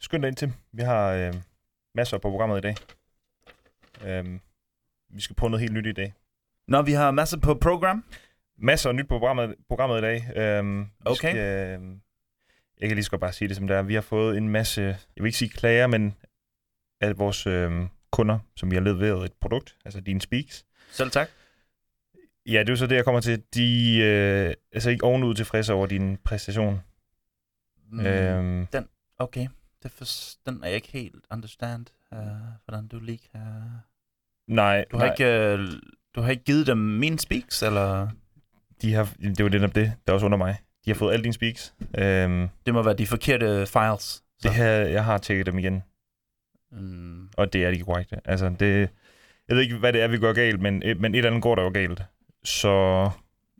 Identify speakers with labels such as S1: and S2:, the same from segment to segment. S1: skynd dig ind til. Vi har øh, masser på programmet i dag. Øh, vi skal på noget helt nyt i dag.
S2: Nå, vi har masser på program.
S1: Masser af nyt på programmet, programmet i dag. Øhm, vi
S2: Okay.
S1: Skal, øhm, jeg kan lige så godt bare sige det, som det er. Vi har fået en masse, jeg vil ikke sige klager, men at vores øhm, kunder, som vi har leveret et produkt, altså din Speaks.
S2: Selv tak.
S1: Ja, det er jo så det, jeg kommer til. De øh, altså ikke ovenud tilfredse over din præstation. Mm. Øhm,
S2: Okay, det for, den er jeg ikke helt understand, uh, hvordan du lige kan...
S1: nej,
S2: Du har,
S1: nej.
S2: ikke, uh, du har ikke givet dem min speaks, eller...
S1: De har, det er jo netop det, der er også under mig. De har fået alle dine Speaks. Øhm,
S2: Det må være de forkerte files. Så.
S1: det her, jeg har tjekket dem igen.
S2: Mm,
S1: og det er de korrekte. Altså, det, jeg ved ikke, hvad det er, vi går galt, men, øh, men et eller andet går der jo galt. Så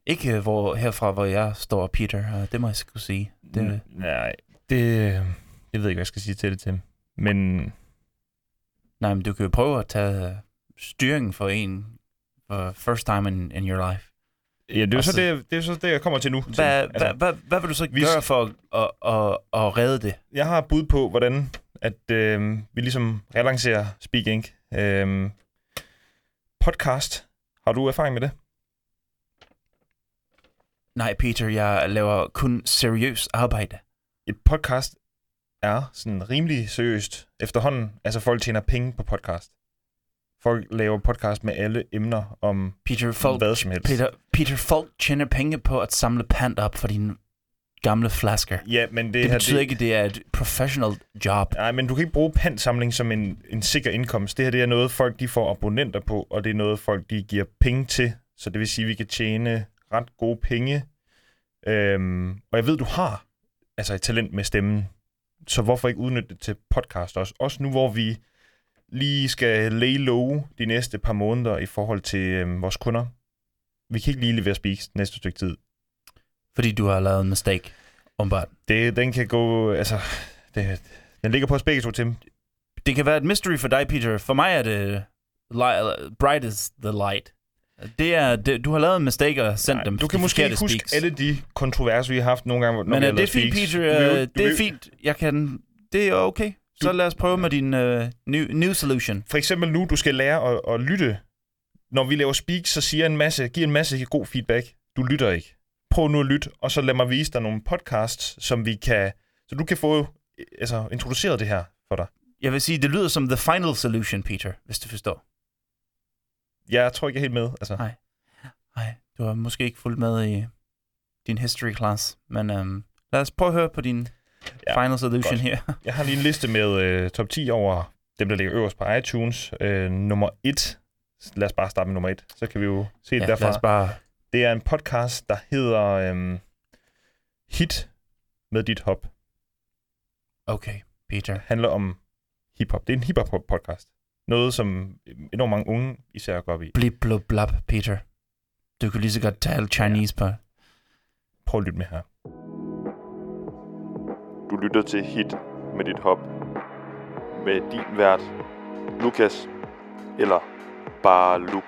S2: ikke øh, hvor, herfra, hvor jeg står, Peter. Uh, det må jeg skulle sige. Det, øh, mm.
S1: nej, det, jeg ved ikke, hvad jeg skal sige til det, Tim. Men
S2: Nej, men du kan jo prøve at tage uh, styringen for en for first time in, in your life.
S1: ja, det, er jo
S2: Altså,
S1: så det, det er så det, jeg kommer til nu. Tim.
S2: Hvad, altså, hvad, hvad, hvad vil du så
S1: vi-
S2: gøre for at, at, at, at redde det?
S1: Jeg har et bud på, hvordan at, øh, vi ligesom relancerer Speak Inc. Øh, podcast. Har du erfaring med det?
S2: Nej, Peter, jeg laver kun seriøs arbejde.
S1: Et podcast er sådan rimelig seriøst efterhånden. Altså, folk tjener penge på podcast. Folk laver podcast med alle emner om
S2: Peter, folk
S1: Folk, hvad som helst.
S2: Peter, Peter Folk tjener penge på at samle pant op for dine gamle flasker. Det,
S1: Ja, men det,
S2: det
S1: her,
S2: betyder det... ikke, at det er et professional job.
S1: Nej, men du kan ikke bruge pantsamling som en, en sikker indkomst. Det her det er noget, folk de får abonnenter på, og det er noget, folk de giver penge til. Så det vil sige, at vi kan tjene ret gode penge. Øhm, og jeg ved, du har altså et talent med stemmen. Så hvorfor ikke udnytte det til podcast også? Også nu, hvor vi lige skal lay low de næste par måneder i forhold til øhm, vores kunder. Vi kan ikke lige levere speaks næste stykke tid.
S2: Fordi du har lavet en mistake. Umbart.
S1: Det, den kan gå... Altså, det, den ligger på os begge to, Tim.
S2: Det kan være et mystery for dig, Peter. For mig er det li- bright is the light. Det er, det, du har lavet en mistake og sendt
S1: Nej,
S2: dem.
S1: Du kan
S2: de
S1: måske
S2: forkerte
S1: ikke huske
S2: speaks.
S1: alle de kontroverser, vi har haft nogle gange. når
S2: Men
S1: vi har
S2: øh, det er
S1: lavet
S2: fint,
S1: speaks.
S2: Peter.
S1: Du vil jo-
S2: øh,
S1: du vil
S2: det er
S1: jo-
S2: fint. Jeg kan... Det er okay. Så
S1: Du-
S2: lad os prøve med din uh, new, new solution.
S1: For eksempel nu, du skal lære at, at lytte. Når vi laver speaks, så siger jeg en masse, giver en masse god feedback. Du lytter ikke. Prøv nu at lytte, og så lad mig vise dig nogle podcasts, som vi kan... Så du kan få øh, altså, introduceret det her for dig.
S2: Jeg vil sige, det lyder som the final solution, Peter, hvis du forstår.
S1: Jeg tror ikke, jeg er helt med. Altså.
S2: Nej. Nej, du har måske ikke fulgt med i din history class, men øhm, lad os prøve at høre på din ja,
S1: Ja,
S2: final solution
S1: godt.
S2: her.
S1: Jeg har lige en liste med øh, top 10 over dem, der ligger øverst på iTunes. Øh, nummer 1. Lad os bare starte med nummer 1. Så kan vi jo se det
S2: ja,
S1: derfra.
S2: lad os bare...
S1: Det er en podcast, der hedder øhm, Hit med dit hop.
S2: Okay, Peter.
S1: handler om hiphop. Det er en hiphop podcast. Noget, som enormt mange unge især går op i.
S2: Blip, blub, blab, Peter. Du kan lige så godt tale Chinese på.
S1: Prøv at lytte med her.
S3: Du lytter til Hit med dit hop. Med din vært, Lukas. Eller bare Luk.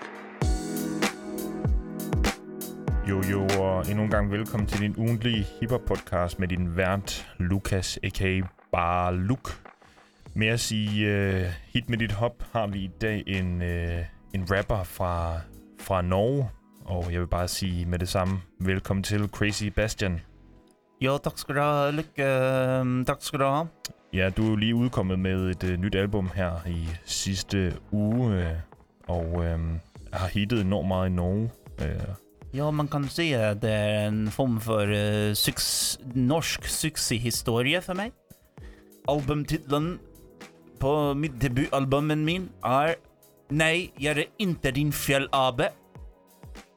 S1: Jo, jo, og endnu en gang velkommen til din ugentlige hiphop-podcast med din vært, Lukas, a.k.a. Bare Luke. Med at sige øh, hit med dit hop, har vi i dag en, øh, en rapper fra, fra Norge. Og jeg vil bare sige med det samme, velkommen til Crazy Bastian.
S2: Jo, tak skal du have. Lykke. øhm, Tak skal du have.
S1: Ja, du er jo lige udkommet med et øh, nyt album her i sidste uge, øh, og øh, har hittet enormt meget i Norge. Øh,
S2: Ja, man kan se at det er en form for uh, suks norsk suksesshistorie for meg. Albumtittelen på mitt debutalbumen min er Nei, jeg er ikke din fjellabe.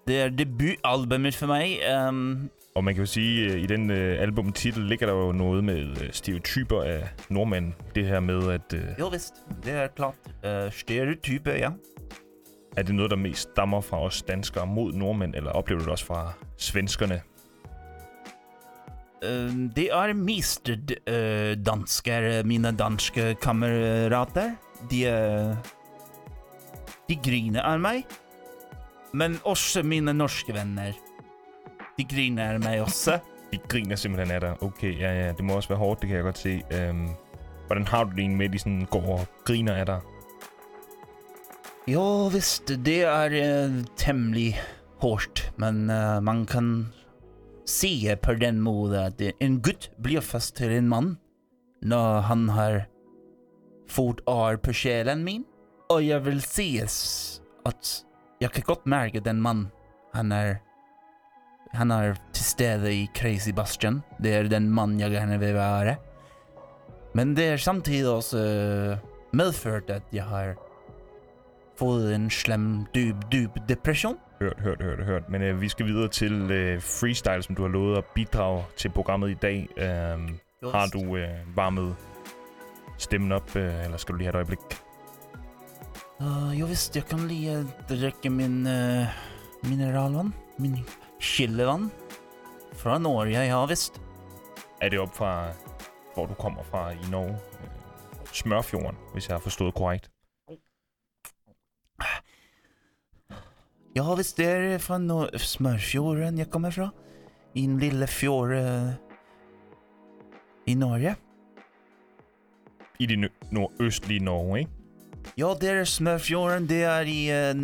S2: Det er debutalbumet for meg. Um,
S1: og man kan jo sige, at i den øh, albumtitel ligger der jo noget med øh, stereotyper af nordmænd. Det her med, at øh,
S2: jo visst, det er klart. Uh, stereotype, ja.
S1: er det noget, der mest stammer fra os danskere mod nordmænd, eller oplever du det også fra svenskerne?
S2: Um, det er mest uh, dansker, mine danske kamerater. De, eh, de griner av meg, men også mine norske venner. De griner av meg også.
S1: De griner simpelthen af dig. Okay, ja, ja, det må også være hårdt, det kan jeg godt se. Øhm, Hvordan har du det egentlig med, at de sådan går og griner af dig?
S2: Jo visst, det er eh, temmelig hårt, men eh, man kan si på den måten at eh, en gutt blir fast til en mann når han har fått ar på sjelen min. Og jeg vil si s- at jeg kan godt merke den mannen. Han er han er til stede i Crazy Bastion. Det er den mannen jeg gjerne vil være. Men det er samtidig også eh, medført at jeg har fået en slem, dyb, dyb depression.
S1: Hørt, hørt, hørt, hørt. Men øh, vi skal videre til øh, freestyle, som du har lovet at bidrage til programmet i dag. Øh, har du øh, varmet stemmen op, øh, eller skal du lige have et øjeblik?
S2: Uh, jo visst, jeg kan lige at drikke min øh, mineralvand. Min chillevand. Fra Norge, ja visst.
S1: Er det op fra, hvor du kommer fra i Norge? Øh, Smørfjorden, hvis jeg har forstået korrekt.
S2: Ja visst, det er fra Nor- Smørfjorden jeg kommer fra. I en lille fjord øh, i Norge.
S1: I det nø- nordøstlige Norge, ikke?
S2: Ja, det er Smørfjorden. Det er i eh,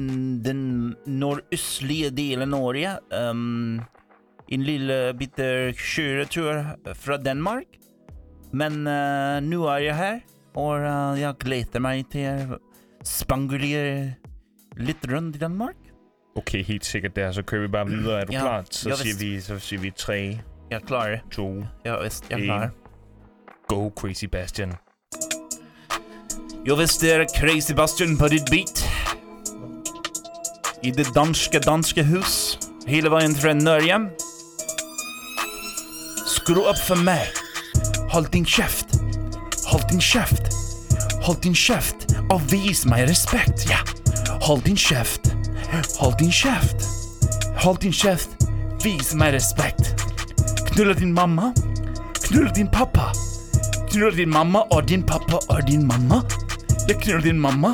S2: den nordøstlige delen av Norge. Um, en lille bitte kjøretur fra Danmark. Men eh, nå er jeg her, og eh, jeg gleder meg til å spangulere litt rundt i Danmark.
S1: Okay, helt sikkert der. Så kører vi bare videre. Er du
S2: Ja,
S1: ja, klar? Så
S2: jeg
S1: siger,
S2: vidste-
S1: vi, så siger vi 3,
S2: Jeg er klar.
S1: 2,
S2: Ja visst, jeg er
S1: En.
S2: klar.
S1: go Crazy Bastion.
S2: Jo visst, det er Crazy Bastion på ditt beat. I det danske, danske hus. Hele veien fra Norge. Skru opp for meg. Hold din kjeft. Hold din kjeft. Hold din kjeft og vis meg respekt. Ja. Hold din kjeft. Hold din kjeft. Hold din kjeft. Vis meg respekt. Knulla din mamma. Knulla din pappa. Knulla din mamma og din pappa og din mamma. Jeg knuller din mamma,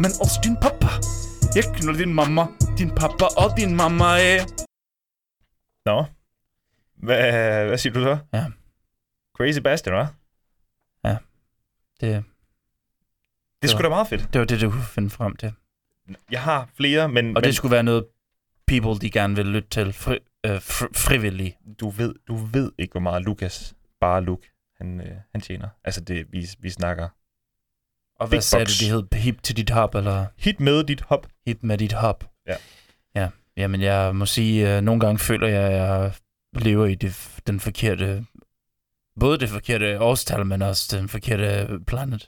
S2: men også din pappa. Jeg knuller din mamma, din pappa og din mamma eh. er...
S1: Nå. Hva, hvad siger du så?
S2: Ja.
S1: Crazy Bastion, hva'?
S2: Det,
S1: Det er sgu
S2: Ja.
S1: da meget fedt.
S2: det var det, du kunne finde frem til.
S1: Jeg har flere, men,
S2: Og
S1: men
S2: det skulle være noget, people de gerne vil lytte til fri, øh, fri, frivillige.
S1: du, ved, du ved ikke, hvor meget Lukas, bare Luke, han, øh, han tjener. Altså, det, vi, vi snakker
S2: Og hvad
S1: Big
S2: sagde
S1: box.
S2: du, de hed hip til dit hop, eller
S1: hit med dit hop.
S2: hip med dit hop?
S1: Ja.
S2: Ja, jamen jeg må sige, øh, nogle gange føler jeg, at jeg lever i det, f- den forkerte... Både det forkerte årstal, men også den forkerte planet.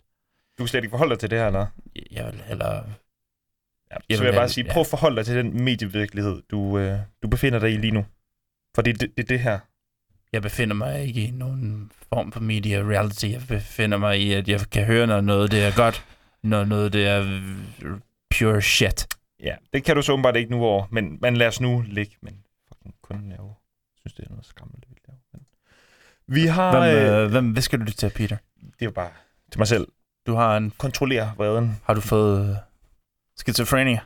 S1: Du kan slet ikke forholde dig til det her, eller?
S2: Jeg vil hellere
S1: Ja,
S2: Jeg
S1: så
S2: vil
S1: vil jeg bare
S2: gerne-
S1: sige,
S2: ja.
S1: prøv at forholde dig til den medievirkelighed, du, øh, du befinder dig i lige nu. For det er det, det, er det her.
S2: Jeg befinder mig ikke i nogen form for media reality. Jeg befinder mig i, at jeg kan høre, når noget det er godt, når noget det er øh, pure shit.
S1: Ja, det kan du så åbenbart ikke nu over, men, men lad os nu ligge. Men fucking kunden er jo, synes det er noget skræmmende, det vi laver. Men... Vi har,
S2: Hvem,
S1: øh,
S2: øh, hvem, hvad skal du lytte til, Peter?
S1: det er jo bare til mig selv,
S2: Du har en...
S1: kontrollere vreden.
S2: Har du fået øh, skizofrenia?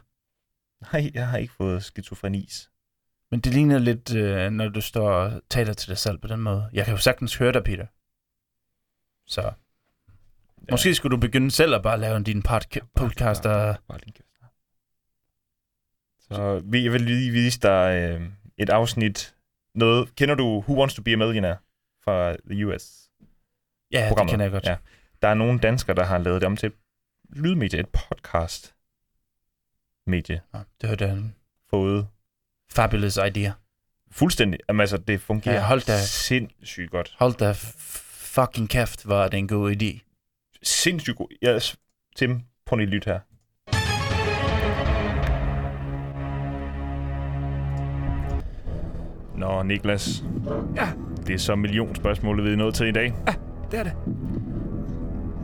S1: Nej, jeg har ikke fået skizofrenis.
S2: Men det ligner lidt, øh, når du står og taler til dig selv på den måde. Jeg kan jo sagtens høre dig, Peter. Så ja.
S1: Ja,
S2: måske skulle du begynde selv at bare lave en- din podca- podcast. Og...
S1: Bare lige kæft. Så vi, jeg vil lige vise dig øh, et afsnit. Noget, kender du Who Wants to be a Millionaire fra The US?
S2: Ja, det
S1: programmet.
S2: kan jeg godt.
S1: Ja. Der er nogle danskere, der har lavet det om til et lydmedie, et podcast medie,
S2: Nå, Det hørte jeg en
S1: fået
S2: fabulous idea.
S1: fuldstændig. Jamen, altså, det fungerer
S2: Ja, hold da.
S1: sindssygt godt.
S2: Hold da f- fucking kæft, var det en god idé.
S1: Sindssygt godt. Ja, s- Tim, prøv lige at lytte her. Nå, Niklas.
S4: Ja.
S1: Det er så millionspørgsmålet, vi er nået til i dag.
S4: Det er det.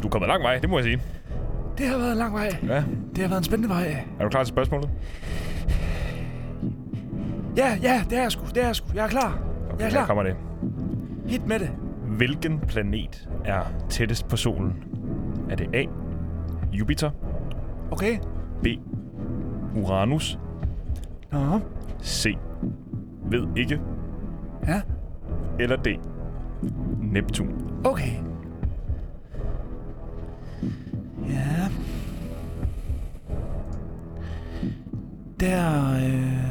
S1: Du er kommet lang vej, det må jeg sige.
S4: Det har været en lang vej.
S1: Ja.
S4: Det har været en spændende vej.
S1: Er du klar til spørgsmålet?
S4: Ja, ja, det er jeg sgu. Det er jeg sgu. Jeg er klar. jeg er
S1: her
S4: klar.
S1: kommer det.
S4: Hit med det.
S1: Hvilken planet er tættest på solen? Er det A. Jupiter,
S4: Okay.
S1: B. Uranus,
S4: Nå.
S1: C. Ved ikke,
S4: Ja.
S1: eller D. Neptun.
S4: Okay. der... Øh,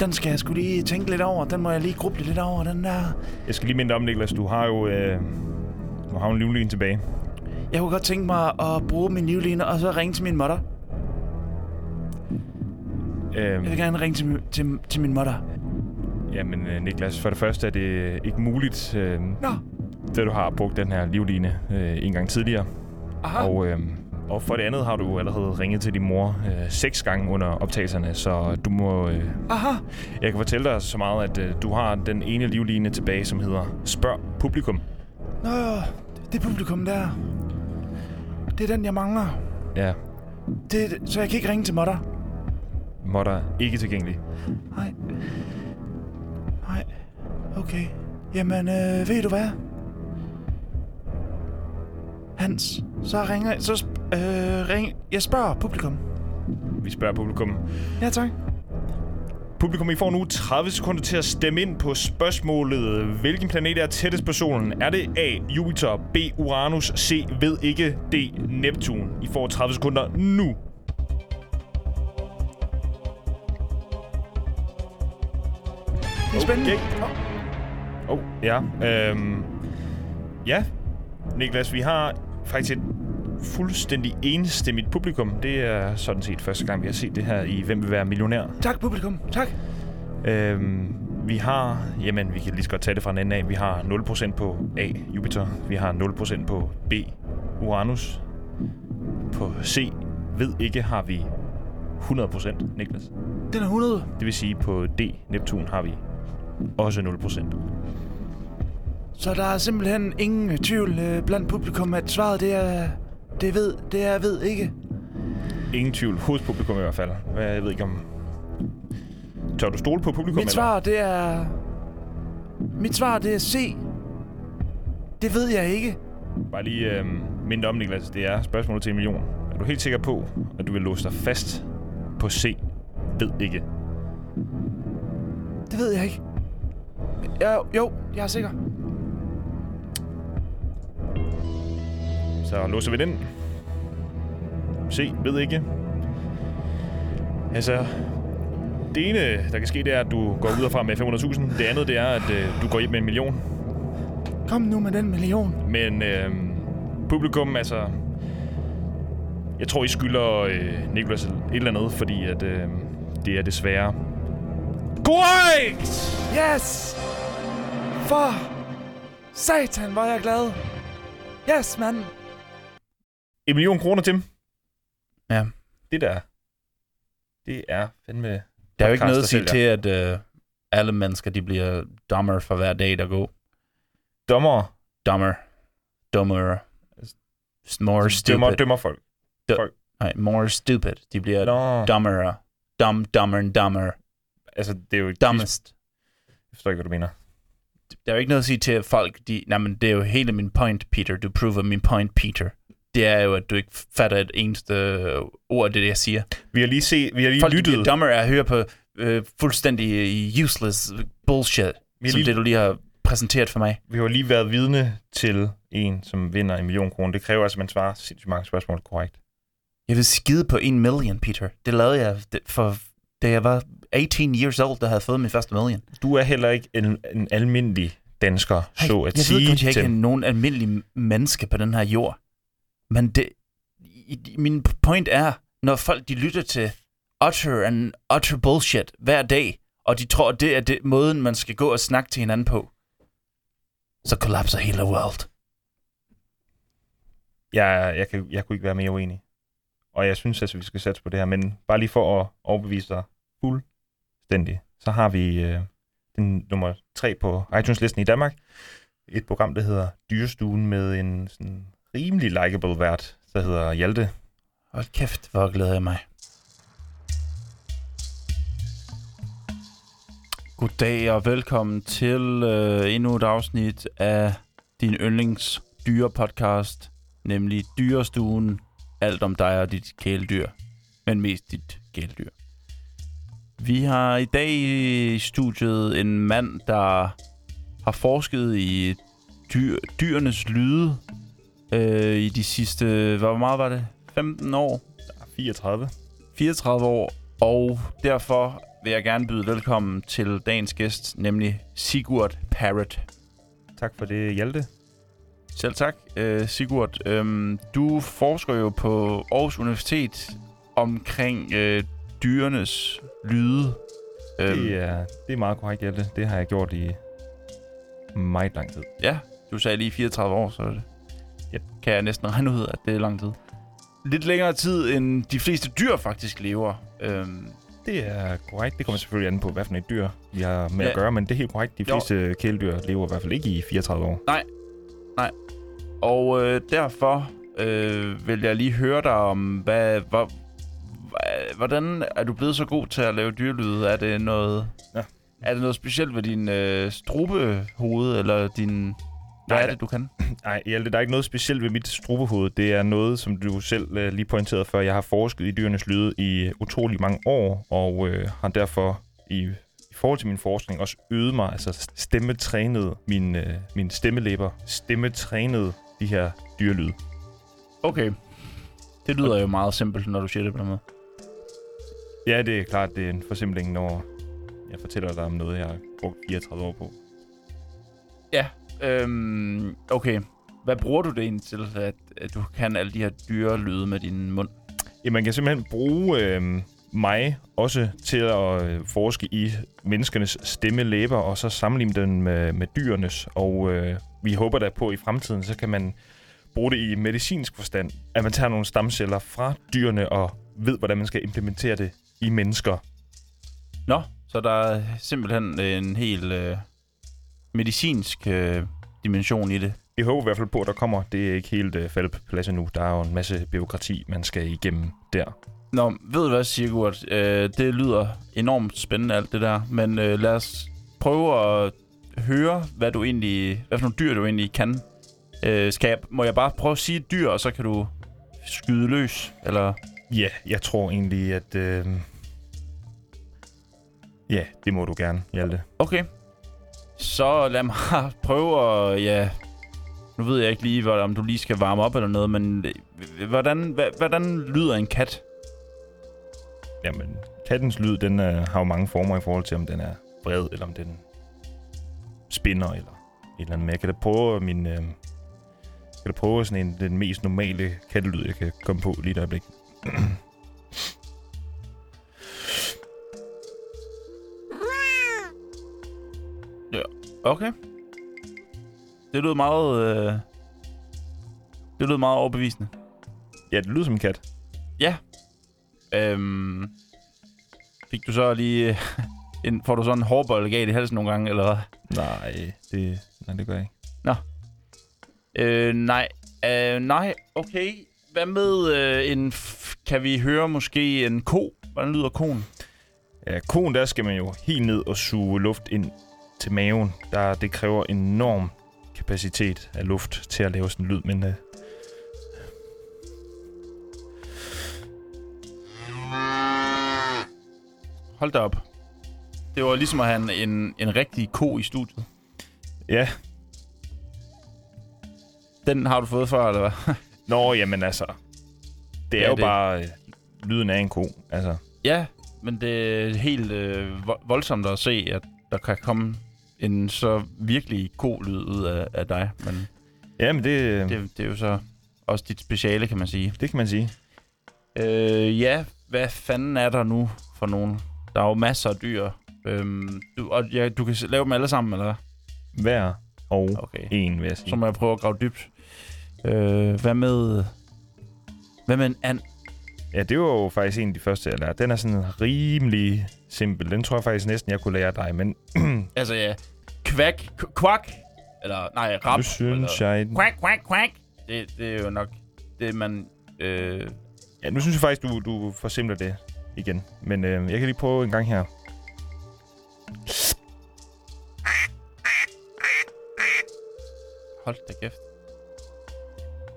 S4: den skal jeg skulle lige tænke lidt over. Den må jeg lige gruble lidt over, den der...
S1: Jeg skal lige minde dig om, Niklas, du har jo, øh, du har jo en livlin tilbage.
S4: Jeg kunne godt tænke mig at bruge min livline og så ringe til min mutter.
S1: Øhm,
S4: Jeg vil gerne ringe til, min- til, til min mutter.
S1: jamen, øh, Niklas, for det første er det ikke muligt, øh,
S4: Nå,
S1: da du har brugt den her livline øh, en gang tidligere.
S4: aha.
S1: Og, øh, og for det andet har du allerede ringet til din mor øh, seks gange under optagelserne, så du må... Øh,
S4: Aha.
S1: jeg kan fortælle dig så meget, at øh, du har den ene livline tilbage, som hedder Spørg Publikum.
S4: Nå, det publikum der. Det er den, jeg mangler.
S1: Ja,
S4: Det, så jeg kan ikke ringe til mutter.
S1: måtter ikke tilgængelig.
S4: Nej. Nej. Okay. Jamen, øh, ved du hvad? Hans, så ringer jeg, så sp- øh, ring, jeg spørger publikum.
S1: Vi spørger publikum.
S4: Ja, tak.
S1: Publikum, I får nu 30 sekunder til at stemme ind på spørgsmålet. Hvilken planet er tættest på solen? Er det A. Jupiter, B. Uranus, C. Ved ikke, D. Neptun. I får 30 sekunder nu.
S4: Det er spændende.
S1: Okay. Oh, ja. Øhm, ja, Niklas, vi har faktisk et fuldstændig enstemmigt publikum. Det er sådan set første gang, vi har set det her i Hvem vil være millionær?
S4: Tak, publikum. Tak.
S1: Øhm, vi har, jamen vi kan lige så godt tage det fra en ende af, vi har 0% på A, Jupiter. Vi har 0% på B, Uranus. På C, ved ikke, har vi 100%, Niklas.
S4: Den er 100.
S1: Det vil sige, på D, Neptun, har vi også 0%.
S4: Så der er simpelthen ingen tvivl øh, blandt publikum, at svaret det er... Det ved, det er ved ikke.
S1: Ingen tvivl, hos publikum i hvert fald. Hvad, Jeg ved ikke om... Tør du stole på publikum?
S4: Mit svar, det er... Mit svar, det er C. Det ved jeg ikke.
S1: Eller? Bare lige øh, minde om, Niklas. Det er spørgsmålet til en million. Er du helt sikker på, at du vil låse dig fast på C? Ved ikke.
S4: Det ved jeg ikke. Jeg, jo, jeg er sikker.
S1: Så låser vi den. Se, ved ikke. Altså, det ene, der kan ske, det er, at du går ud og frem med 500.000. Det andet, det er, at øh, du går hjem med en million.
S4: Kom nu med den million.
S1: Men øh, publikum, altså... Jeg tror, I skylder øh, Niklas et eller andet, fordi at, øh, det er desværre... Korrekt!
S4: Yes! For satan, hvor er jeg glad. Yes, mand.
S1: En million kroner, Tim.
S2: Ja.
S1: Det der. Det er fandme...
S2: Der er jo ikke noget at
S1: Podcast, der
S2: sige til, at øh, alle mennesker de bliver dommer for hver dag, der går.
S1: Dommer.
S2: Dommer. Dommer. More stupid.
S1: Dømmer, dømmer folk.
S2: Nej, more stupid. De bliver no.
S1: Nå.
S2: dummere. Dum, dummer, dummer.
S1: Altså, det er jo...
S2: Dummest.
S1: Jeg forstår ikke, hvad du mener.
S2: Der er jo ikke noget at sige til, at folk... De, nej, men det er jo hele min point, Peter. Du prover min point, Peter. Det er jo, at du ikke fatter et eneste ord af det, jeg siger.
S1: Vi har lige, set, vi har lige
S2: Folk de
S1: lyttet...
S2: bliver dummere af at høre på øh, fuldstændig uh, useless bullshit,
S1: Vi har
S2: som
S1: lige-
S2: det, du lige har præsenteret for mig.
S1: Vi har jo lige været vidne til en, som vinder en million kroner. Det kræver altså, at man svarer sindssygt mange spørgsmål korrekt.
S2: Jeg vil skide på en million, Peter. Det lavede jeg d- for, da jeg var 18 years old, der havde fået min første million.
S1: Du er heller ikke en, en almindelig dansker,
S2: Hey,
S1: så at
S2: jeg
S1: sige.
S2: ved godt, jeg ikke er
S1: Tim.
S2: nogen almindelig m- menneske på den her jord. Men det, i- i- min point er, når folk de lytter til utter and utter bullshit hver dag, og de tror, det er det, måden, man skal gå og snakke til hinanden på, så kollapser hele world.
S1: jeg, jeg, kan, jeg kunne ikke være mere uenig. Og jeg synes altså, vi skal satse på det her, men bare lige for at overbevise dig fuldstændig, så har vi øh, den nummer tre på iTunes-listen i Danmark. Et program, der hedder Dyrestuen med en sådan rimelig likable vært, der hedder Hjalte.
S2: Hold kæft, hvor glæder jeg mig. Goddag og velkommen til øh, endnu et afsnit af din yndlings dyrepodcast, nemlig Dyrestuen. Alt om dig og dit kæledyr, men mest dit kæledyr. Vi har i dag i studiet en mand, der har forsket i dyr, dyrenes lyde øh, i de sidste, hvor meget var det, 15 år?
S1: 34.
S2: 34 år, og derfor vil jeg gerne byde velkommen til dagens gæst, nemlig Sigurd Parrot.
S1: Tak for det, Hjalte.
S2: Selv tak, øh, Sigurd. Øhm, du forsker jo på Aarhus Universitet omkring øh, dyrenes lyde. Øhm,
S1: Det er, det er meget korrekt, Hjalte. Det har jeg gjort i meget lang tid.
S2: Ja, du sagde lige 34 år, så det
S1: Yep.
S2: kan jeg næsten regne ud, at det er lang tid. Lidt længere tid, end de fleste dyr faktisk lever. Øhm,
S1: Det er korrekt. Det kommer selvfølgelig an på, hvad for et dyr vi har med
S2: Ja.
S1: at gøre, men det er helt korrekt. De
S2: Jo.
S1: fleste kæledyr lever i hvert fald ikke i 34 år.
S2: og øh, derfor øh, vil jeg lige høre dig om, hvad, hvor, hva- hvordan er du blevet så god til at lave dyrelyde? Er det noget...
S1: Ja.
S2: Er det noget specielt ved din øh, strubehoved, eller din... Hvad
S1: Nej,
S2: er
S1: der-
S2: det, du kan?
S1: Nej, Hjalte, der er ikke noget specielt ved mit strubehoved. Det er noget, som du selv øh, lige pointerede før. Jeg har forsket i dyrenes lyde i utrolig mange år, og øh, har derfor i, i forhold til min forskning også øvet mig, altså stemmetrænet min, øh, min stemmelæber, stemmetrænet de her dyrelyde.
S2: Okay. Det lyder jo meget simpelt, når du siger det på den måde.
S1: Ja, det er klart, det er en forsimpling, når jeg fortæller dig om noget, jeg har brugt 34 år på.
S2: Øhm, okay. Hvad bruger du det egentlig til, at, at du kan alle de her dyre lyde med din mund?
S1: Ja, man kan simpelthen bruge øh, mig også til at øh, forske i menneskernes stemmelæber, og så sammenligne den med, med dyrenes. Og øh, vi håber da på, at i fremtiden, så kan man bruge det i medicinsk forstand, at man tager nogle stamceller fra dyrene og ved, hvordan man skal implementere det i mennesker.
S2: Nå, så der er simpelthen en hel øh, medicinsk øh, dimension i det.
S1: Vi håber i hvert fald på, at der kommer. Det er ikke helt øh, faldet på plads endnu. Der er jo en masse byråkrati, man skal igennem der.
S2: Nå, ved du hvad, Sigurd? Øh, det lyder enormt spændende, alt det der. Men øh, lad os prøve at høre, hvad du egentlig, hvad for nogle dyr du egentlig kan. Øh, skal jeg, må jeg bare prøve at sige et dyr, og så kan du skyde løs? Eller
S1: Ja, jeg tror egentlig, at... Øh... Ja, det må du gerne, Hjalte.
S2: Okay. Så lad mig prøve at, ja... Nu ved jeg ikke lige, hvor- om du lige skal varme op eller noget, men øh, hvordan, hva- hvordan lyder en kat?
S1: Jamen, kattens lyd, den øh, har jo mange former i forhold til, om den er bred, eller om den spinder, eller et eller andet. Men jeg kan da prøve min... Øh... Jeg kan da prøve sådan en, den mest normale kattelyd, jeg kan komme på lige et øjeblik.
S2: Okay. Det lød meget... Øh, det lød meget overbevisende.
S1: Ja, det lyder som en kat.
S2: Øhm, fik du så lige... øh, En, får du sådan en hårbold galt i halsen nogle gange, eller hvad?
S1: Nej, det, nej, det gør jeg ikke.
S2: Øh, nej. Øh, nej, okay. Hvad med øh, en... F- kan vi høre måske en ko? Hvordan lyder koen?
S1: Ja, koen, der skal man jo helt ned og suge luft ind til maven. Der, det kræver enorm kapacitet af luft til at lave sådan en lyd, men øh,
S2: Hold da op. Det var ligesom at have en, en, en rigtig ko i studiet.
S1: ja.
S2: Den har du fået før, eller hvad?
S1: Nå, jamen altså. Det er
S2: Ja,
S1: jo
S2: det-
S1: bare øh, lyden af en ko. Altså,
S2: ja, men det er helt øh, vo- voldsomt at se, at der kan komme en så virkelig ko-lyd ud af, af dig. Men
S1: jamen det, øh, det,
S2: det, det er jo så også dit speciale, kan man sige.
S1: det kan man sige.
S2: Øh, ja, hvad fanden er der nu for nogen? Der er jo masser af dyr. Øhm, du, og ja, du kan s- lave dem alle sammen, eller hvad?
S1: Hver og
S2: Okay.
S1: en, vil jeg sige.
S2: Så må jeg prøve at grave dybt. Øh, hvad med... Hvad med en and?
S1: Ja, det var jo faktisk en af de første, jeg lærte. Den er sådan rimelig simpel. Den tror jeg faktisk næsten, jeg kunne lære dig, men
S2: Altså, ja. Kvak. k- Kvak. Eller, nej, rap.
S1: nu synes jeg...
S2: Kvak, kvak, kvak. Det, det er jo nok det, man... Øh,
S1: Ja, nu synes jeg faktisk, du, du forsimpler det igen. Men øh, jeg kan lige prøve en gang her.
S2: hold da kæft.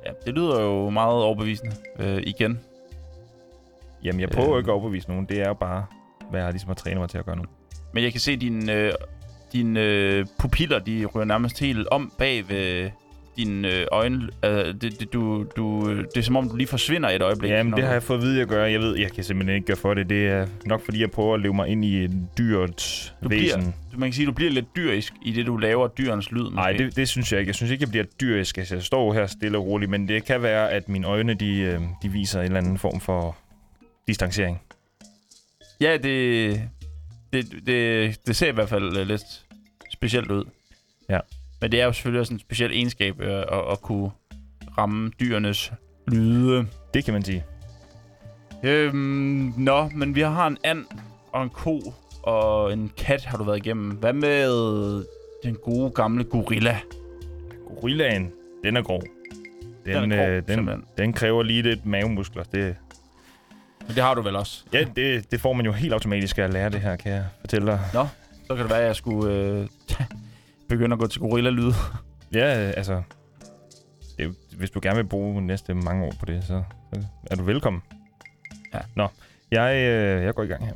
S2: Ja, det lyder jo meget overbevisende øh, igen.
S1: Jamen, jeg prøver
S2: Øhm.
S1: øh. ikke at overbevise nogen. Det er jo bare, hvad jeg ligesom har trænet mig til at gøre nu.
S2: Men jeg kan se, at dine øh, din, øh, pupiller de ryger nærmest helt om bag ved dine øh, øjne... Øh, det, det, du, du, det er som om, du lige forsvinder et øjeblik.
S1: Jamen,
S2: når
S1: det
S2: du-
S1: har jeg fået at vide at gøre. Jeg ved, jeg kan simpelthen ikke gøre for det. Det er nok fordi, jeg prøver at leve mig ind i et dyrt
S2: Du bliver-
S1: væsen.
S2: Du- Man kan sige, du bliver lidt dyrisk i det, du laver dyrens lyd.
S1: Nej,
S2: måske.
S1: det, det synes jeg ikke. Jeg synes ikke, jeg bliver dyrisk. Altså, jeg står her stille og roligt, men det kan være, at mine øjne de, øh, de viser en eller anden form for distancering.
S2: Ja, det, det, det, det ser i hvert fald øh, lidt specielt ud.
S1: Ja.
S2: Men det er jo selvfølgelig også en speciel egenskab øh, at, at kunne ramme dyrenes lyde.
S1: Det kan man sige.
S2: Øhm, nå, men vi har en and og en ko og en kat har du været igennem. Hvad med den gode gamle gorilla?
S1: Gorillaen, den er grov. Den, den,
S2: grov,
S1: er grov, øh, den,
S2: simpelthen.
S1: den kræver lige lidt mavemuskler. Det,
S2: Men det har du vel også?
S1: ja, det, det får man jo helt automatisk af at lære det her, kan jeg fortælle dig.
S2: Så kan det være, at jeg skulle øh, begynde at gå til gorilla-lyde.
S1: Ja, øh, altså... Det, er jo- hvis du gerne vil bruge næste mange år på det, så så er du velkommen.
S2: Ja.
S1: Nå, jeg, øh, jeg går i gang her.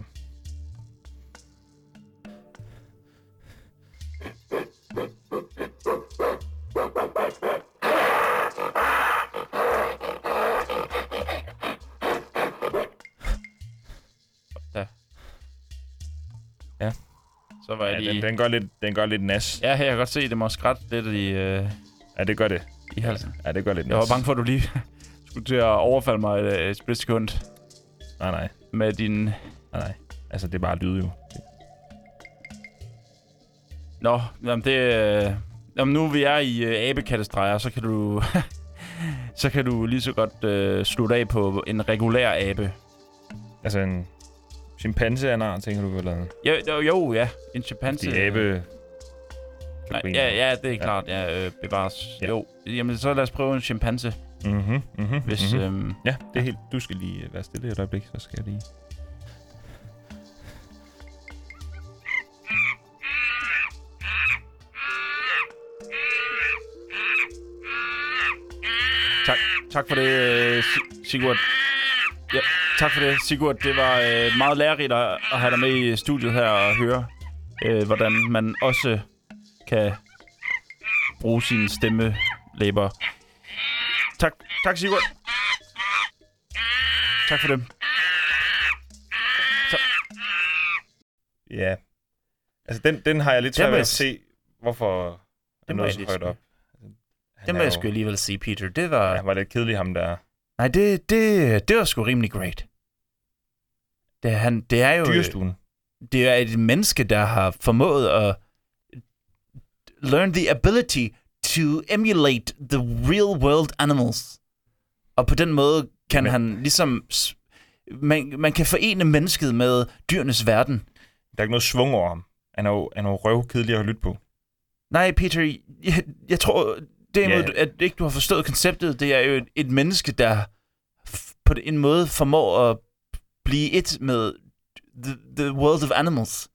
S2: Så var
S1: Ja,
S2: jeg
S1: den,
S2: lige...
S1: den, gør lidt, den gør lidt nas.
S2: Ja, jeg kan godt se, det må skrætte lidt i, øh,
S1: Ja, det gør det.
S2: i halsen.
S1: Ja, det gør lidt nas.
S2: Jeg var bange for, at du lige skulle til at overfalde mig et, et splitsekund
S1: Nej, nej.
S2: med din...
S1: Nej, nej. Altså, det er bare lyde jo.
S2: Nå, jamen det... Øh... Jamen nu vi er i øh, abekattestreger, så kan du... så kan du lige så godt øh, slutte af på en regulær abe.
S1: Altså, en chimpanse af en art, tænker du, eller en
S2: Jo, jo, jo ja. En chimpanse.
S1: de abe...
S2: Øh, Nej, ja, ja, det er ja. klart. Ja, øh, bevares. Ja.
S1: Ja.
S2: Jo. Jamen, så lad os prøve en chimpanse,
S1: Mm-hmm, mm-hmm,
S2: hvis...
S1: mm-hmm.
S2: øhm,
S1: Ja, det er helt... Du skal lige øh, være stille et øjeblik, så skal jeg lige...
S2: Tak, tak for det, øh, Si- Sigurd. Ja, tak for det, Sigurd. Det var øh, meget lærerigt at at have dig med i studiet her og høre, øh, hvordan man også kan bruge sine stemmelæber. Tak, tak Sigurd. Tak for det.
S1: Ja. Altså, den, den har jeg lidt svært
S2: Den må
S1: ved
S2: jeg
S1: at se, hvorfor
S2: må
S1: den
S2: jeg
S1: nåede så
S2: lige
S1: højt
S2: smide.
S1: op. Altså, Han
S2: Det må
S1: er
S2: jeg
S1: jo-
S2: sgu alligevel sige, Peter. Det var...
S1: Han var lidt kedelig, ham der.
S2: Nej, det, det, det var sgu rimelig great. Det, er han, det er jo...
S1: Dyrestuen.
S2: det er et menneske, der har formået at learn the ability to emulate the real world animals. Og på den måde kan
S1: Men-
S2: han ligesom... s- Man, man kan forene mennesket med dyrenes verden.
S1: Der er ikke noget svung over ham. Han er jo, han er jo røvkedelig at lytte på.
S2: Nej, Peter, jeg, jeg tror derimod,
S1: Ja.
S2: yeah. at ikke du har forstået konceptet. Det er jo et, et menneske, der f- på en måde formår at blive et med the, the world of animals.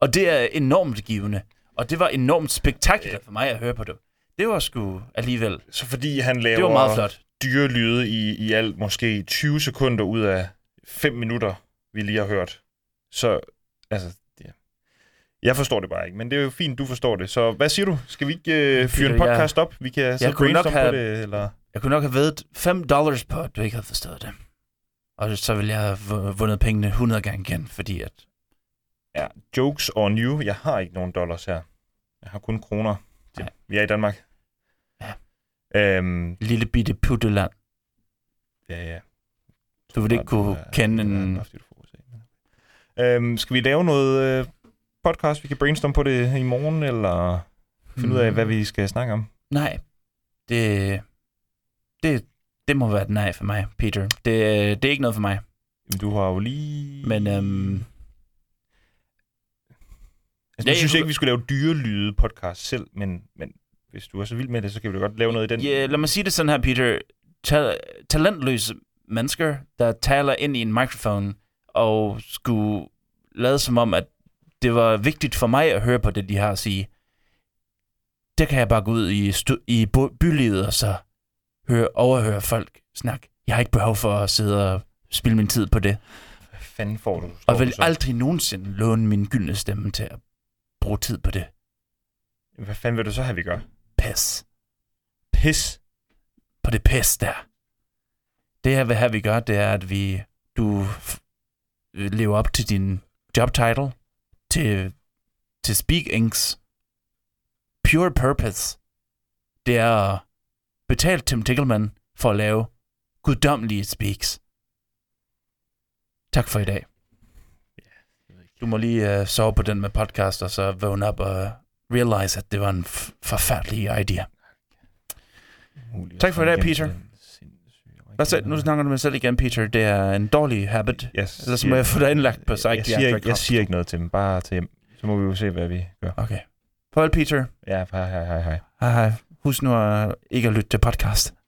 S2: Og det er enormt givende. Og det var enormt spektakulært for mig at høre på det. Det var sgu alligevel.
S1: Så fordi han laver
S2: Det var meget flot.
S1: dyrelyde i, i alt måske 20 sekunder ud af 5 minutter, vi lige har hørt. Så, altså, ja. jeg forstår det bare ikke, men det er jo fint, du forstår det. Så hvad siger du? Skal vi ikke øh, fyre en
S2: Peter, jeg-
S1: podcast op? Vi kan sidde og
S2: kunne nok
S1: brainstorme
S2: have-
S1: på det, eller...
S2: Jeg kunne nok have vedet 5 dollars på, at du ikke havde forstået det. Og så ville jeg have vu- vundet pengene 100 gange igen, fordi at...
S1: Ja, jokes on you. Jeg har ikke nogen dollars her. Jeg har kun kroner.
S2: Nej.
S1: Vi er i Danmark.
S2: Ja.
S1: Øhm,
S2: Lille bitte putteland.
S1: ja, ja.
S2: Du ville ikke kunne kende en
S1: Øhm, skal vi lave noget øh, podcast, vi kan brainstorme på det i morgen, eller finde ud
S2: Hmm.
S1: af, hvad vi skal snakke om?
S2: Nej. Det, det, det må være et nej for mig, Peter. Det, det er ikke noget for mig.
S1: Jamen, Du har jo lige...
S2: Men øhm,
S1: altså,
S2: Ja,
S1: jeg
S2: jeg
S1: synes
S2: kunne-
S1: ikke, vi skulle lave dyrelyde podcast selv, men, men hvis du er så vild med det, så kan vi da godt lave noget i den.
S2: ja, lad mig sige det sådan her, Peter. Ta- talentløse mennesker, der taler ind i en mikrofon og skulle lade som om, at det var vigtigt for mig at høre på det, de har at sige. Der kan jeg bare gå ud i, stu- i bo- bylivet og så høre, overhøre folk snakke. Jeg har ikke behov for at sidde og spilde min tid på det.
S1: Hvad fanden får du? står
S2: Og vil
S1: du så?
S2: aldrig nogensinde låne min gyldne stemme til at bruge tid på det.
S1: Hvad fanden vil du så have, vi gør?
S2: Pas.
S1: pis.
S2: på det pis der. Det her, hvad her vi gør, det er, at vi, du f- øh, lever op til din job title, til, til Speak Inks pure purpose. Det er at betale Tim Tickleman for at lave guddommelige speaks. Tak for i dag. Du må lige uh, sove på den med podcast, og så vågne op og realize, at det var en f- forfærdelig idé. Tak for i dag, Peter. Hvad så? Nu snakker du med dig selv igen, Peter. Det er en dårlig habit. Altså,
S1: Yes.
S2: Så så må jeg få dig indlagt på
S1: jeg, jeg, siger
S2: psychiatric
S1: ikke, jeg siger ikke noget til dem, bare til hjem. Så må vi jo se, hvad vi gør.
S2: Okay. Farvel, Peter.
S1: Ja, hej, hej, hej, hej.
S2: Hej, hej. Husk nu at ikke at lytte til podcast.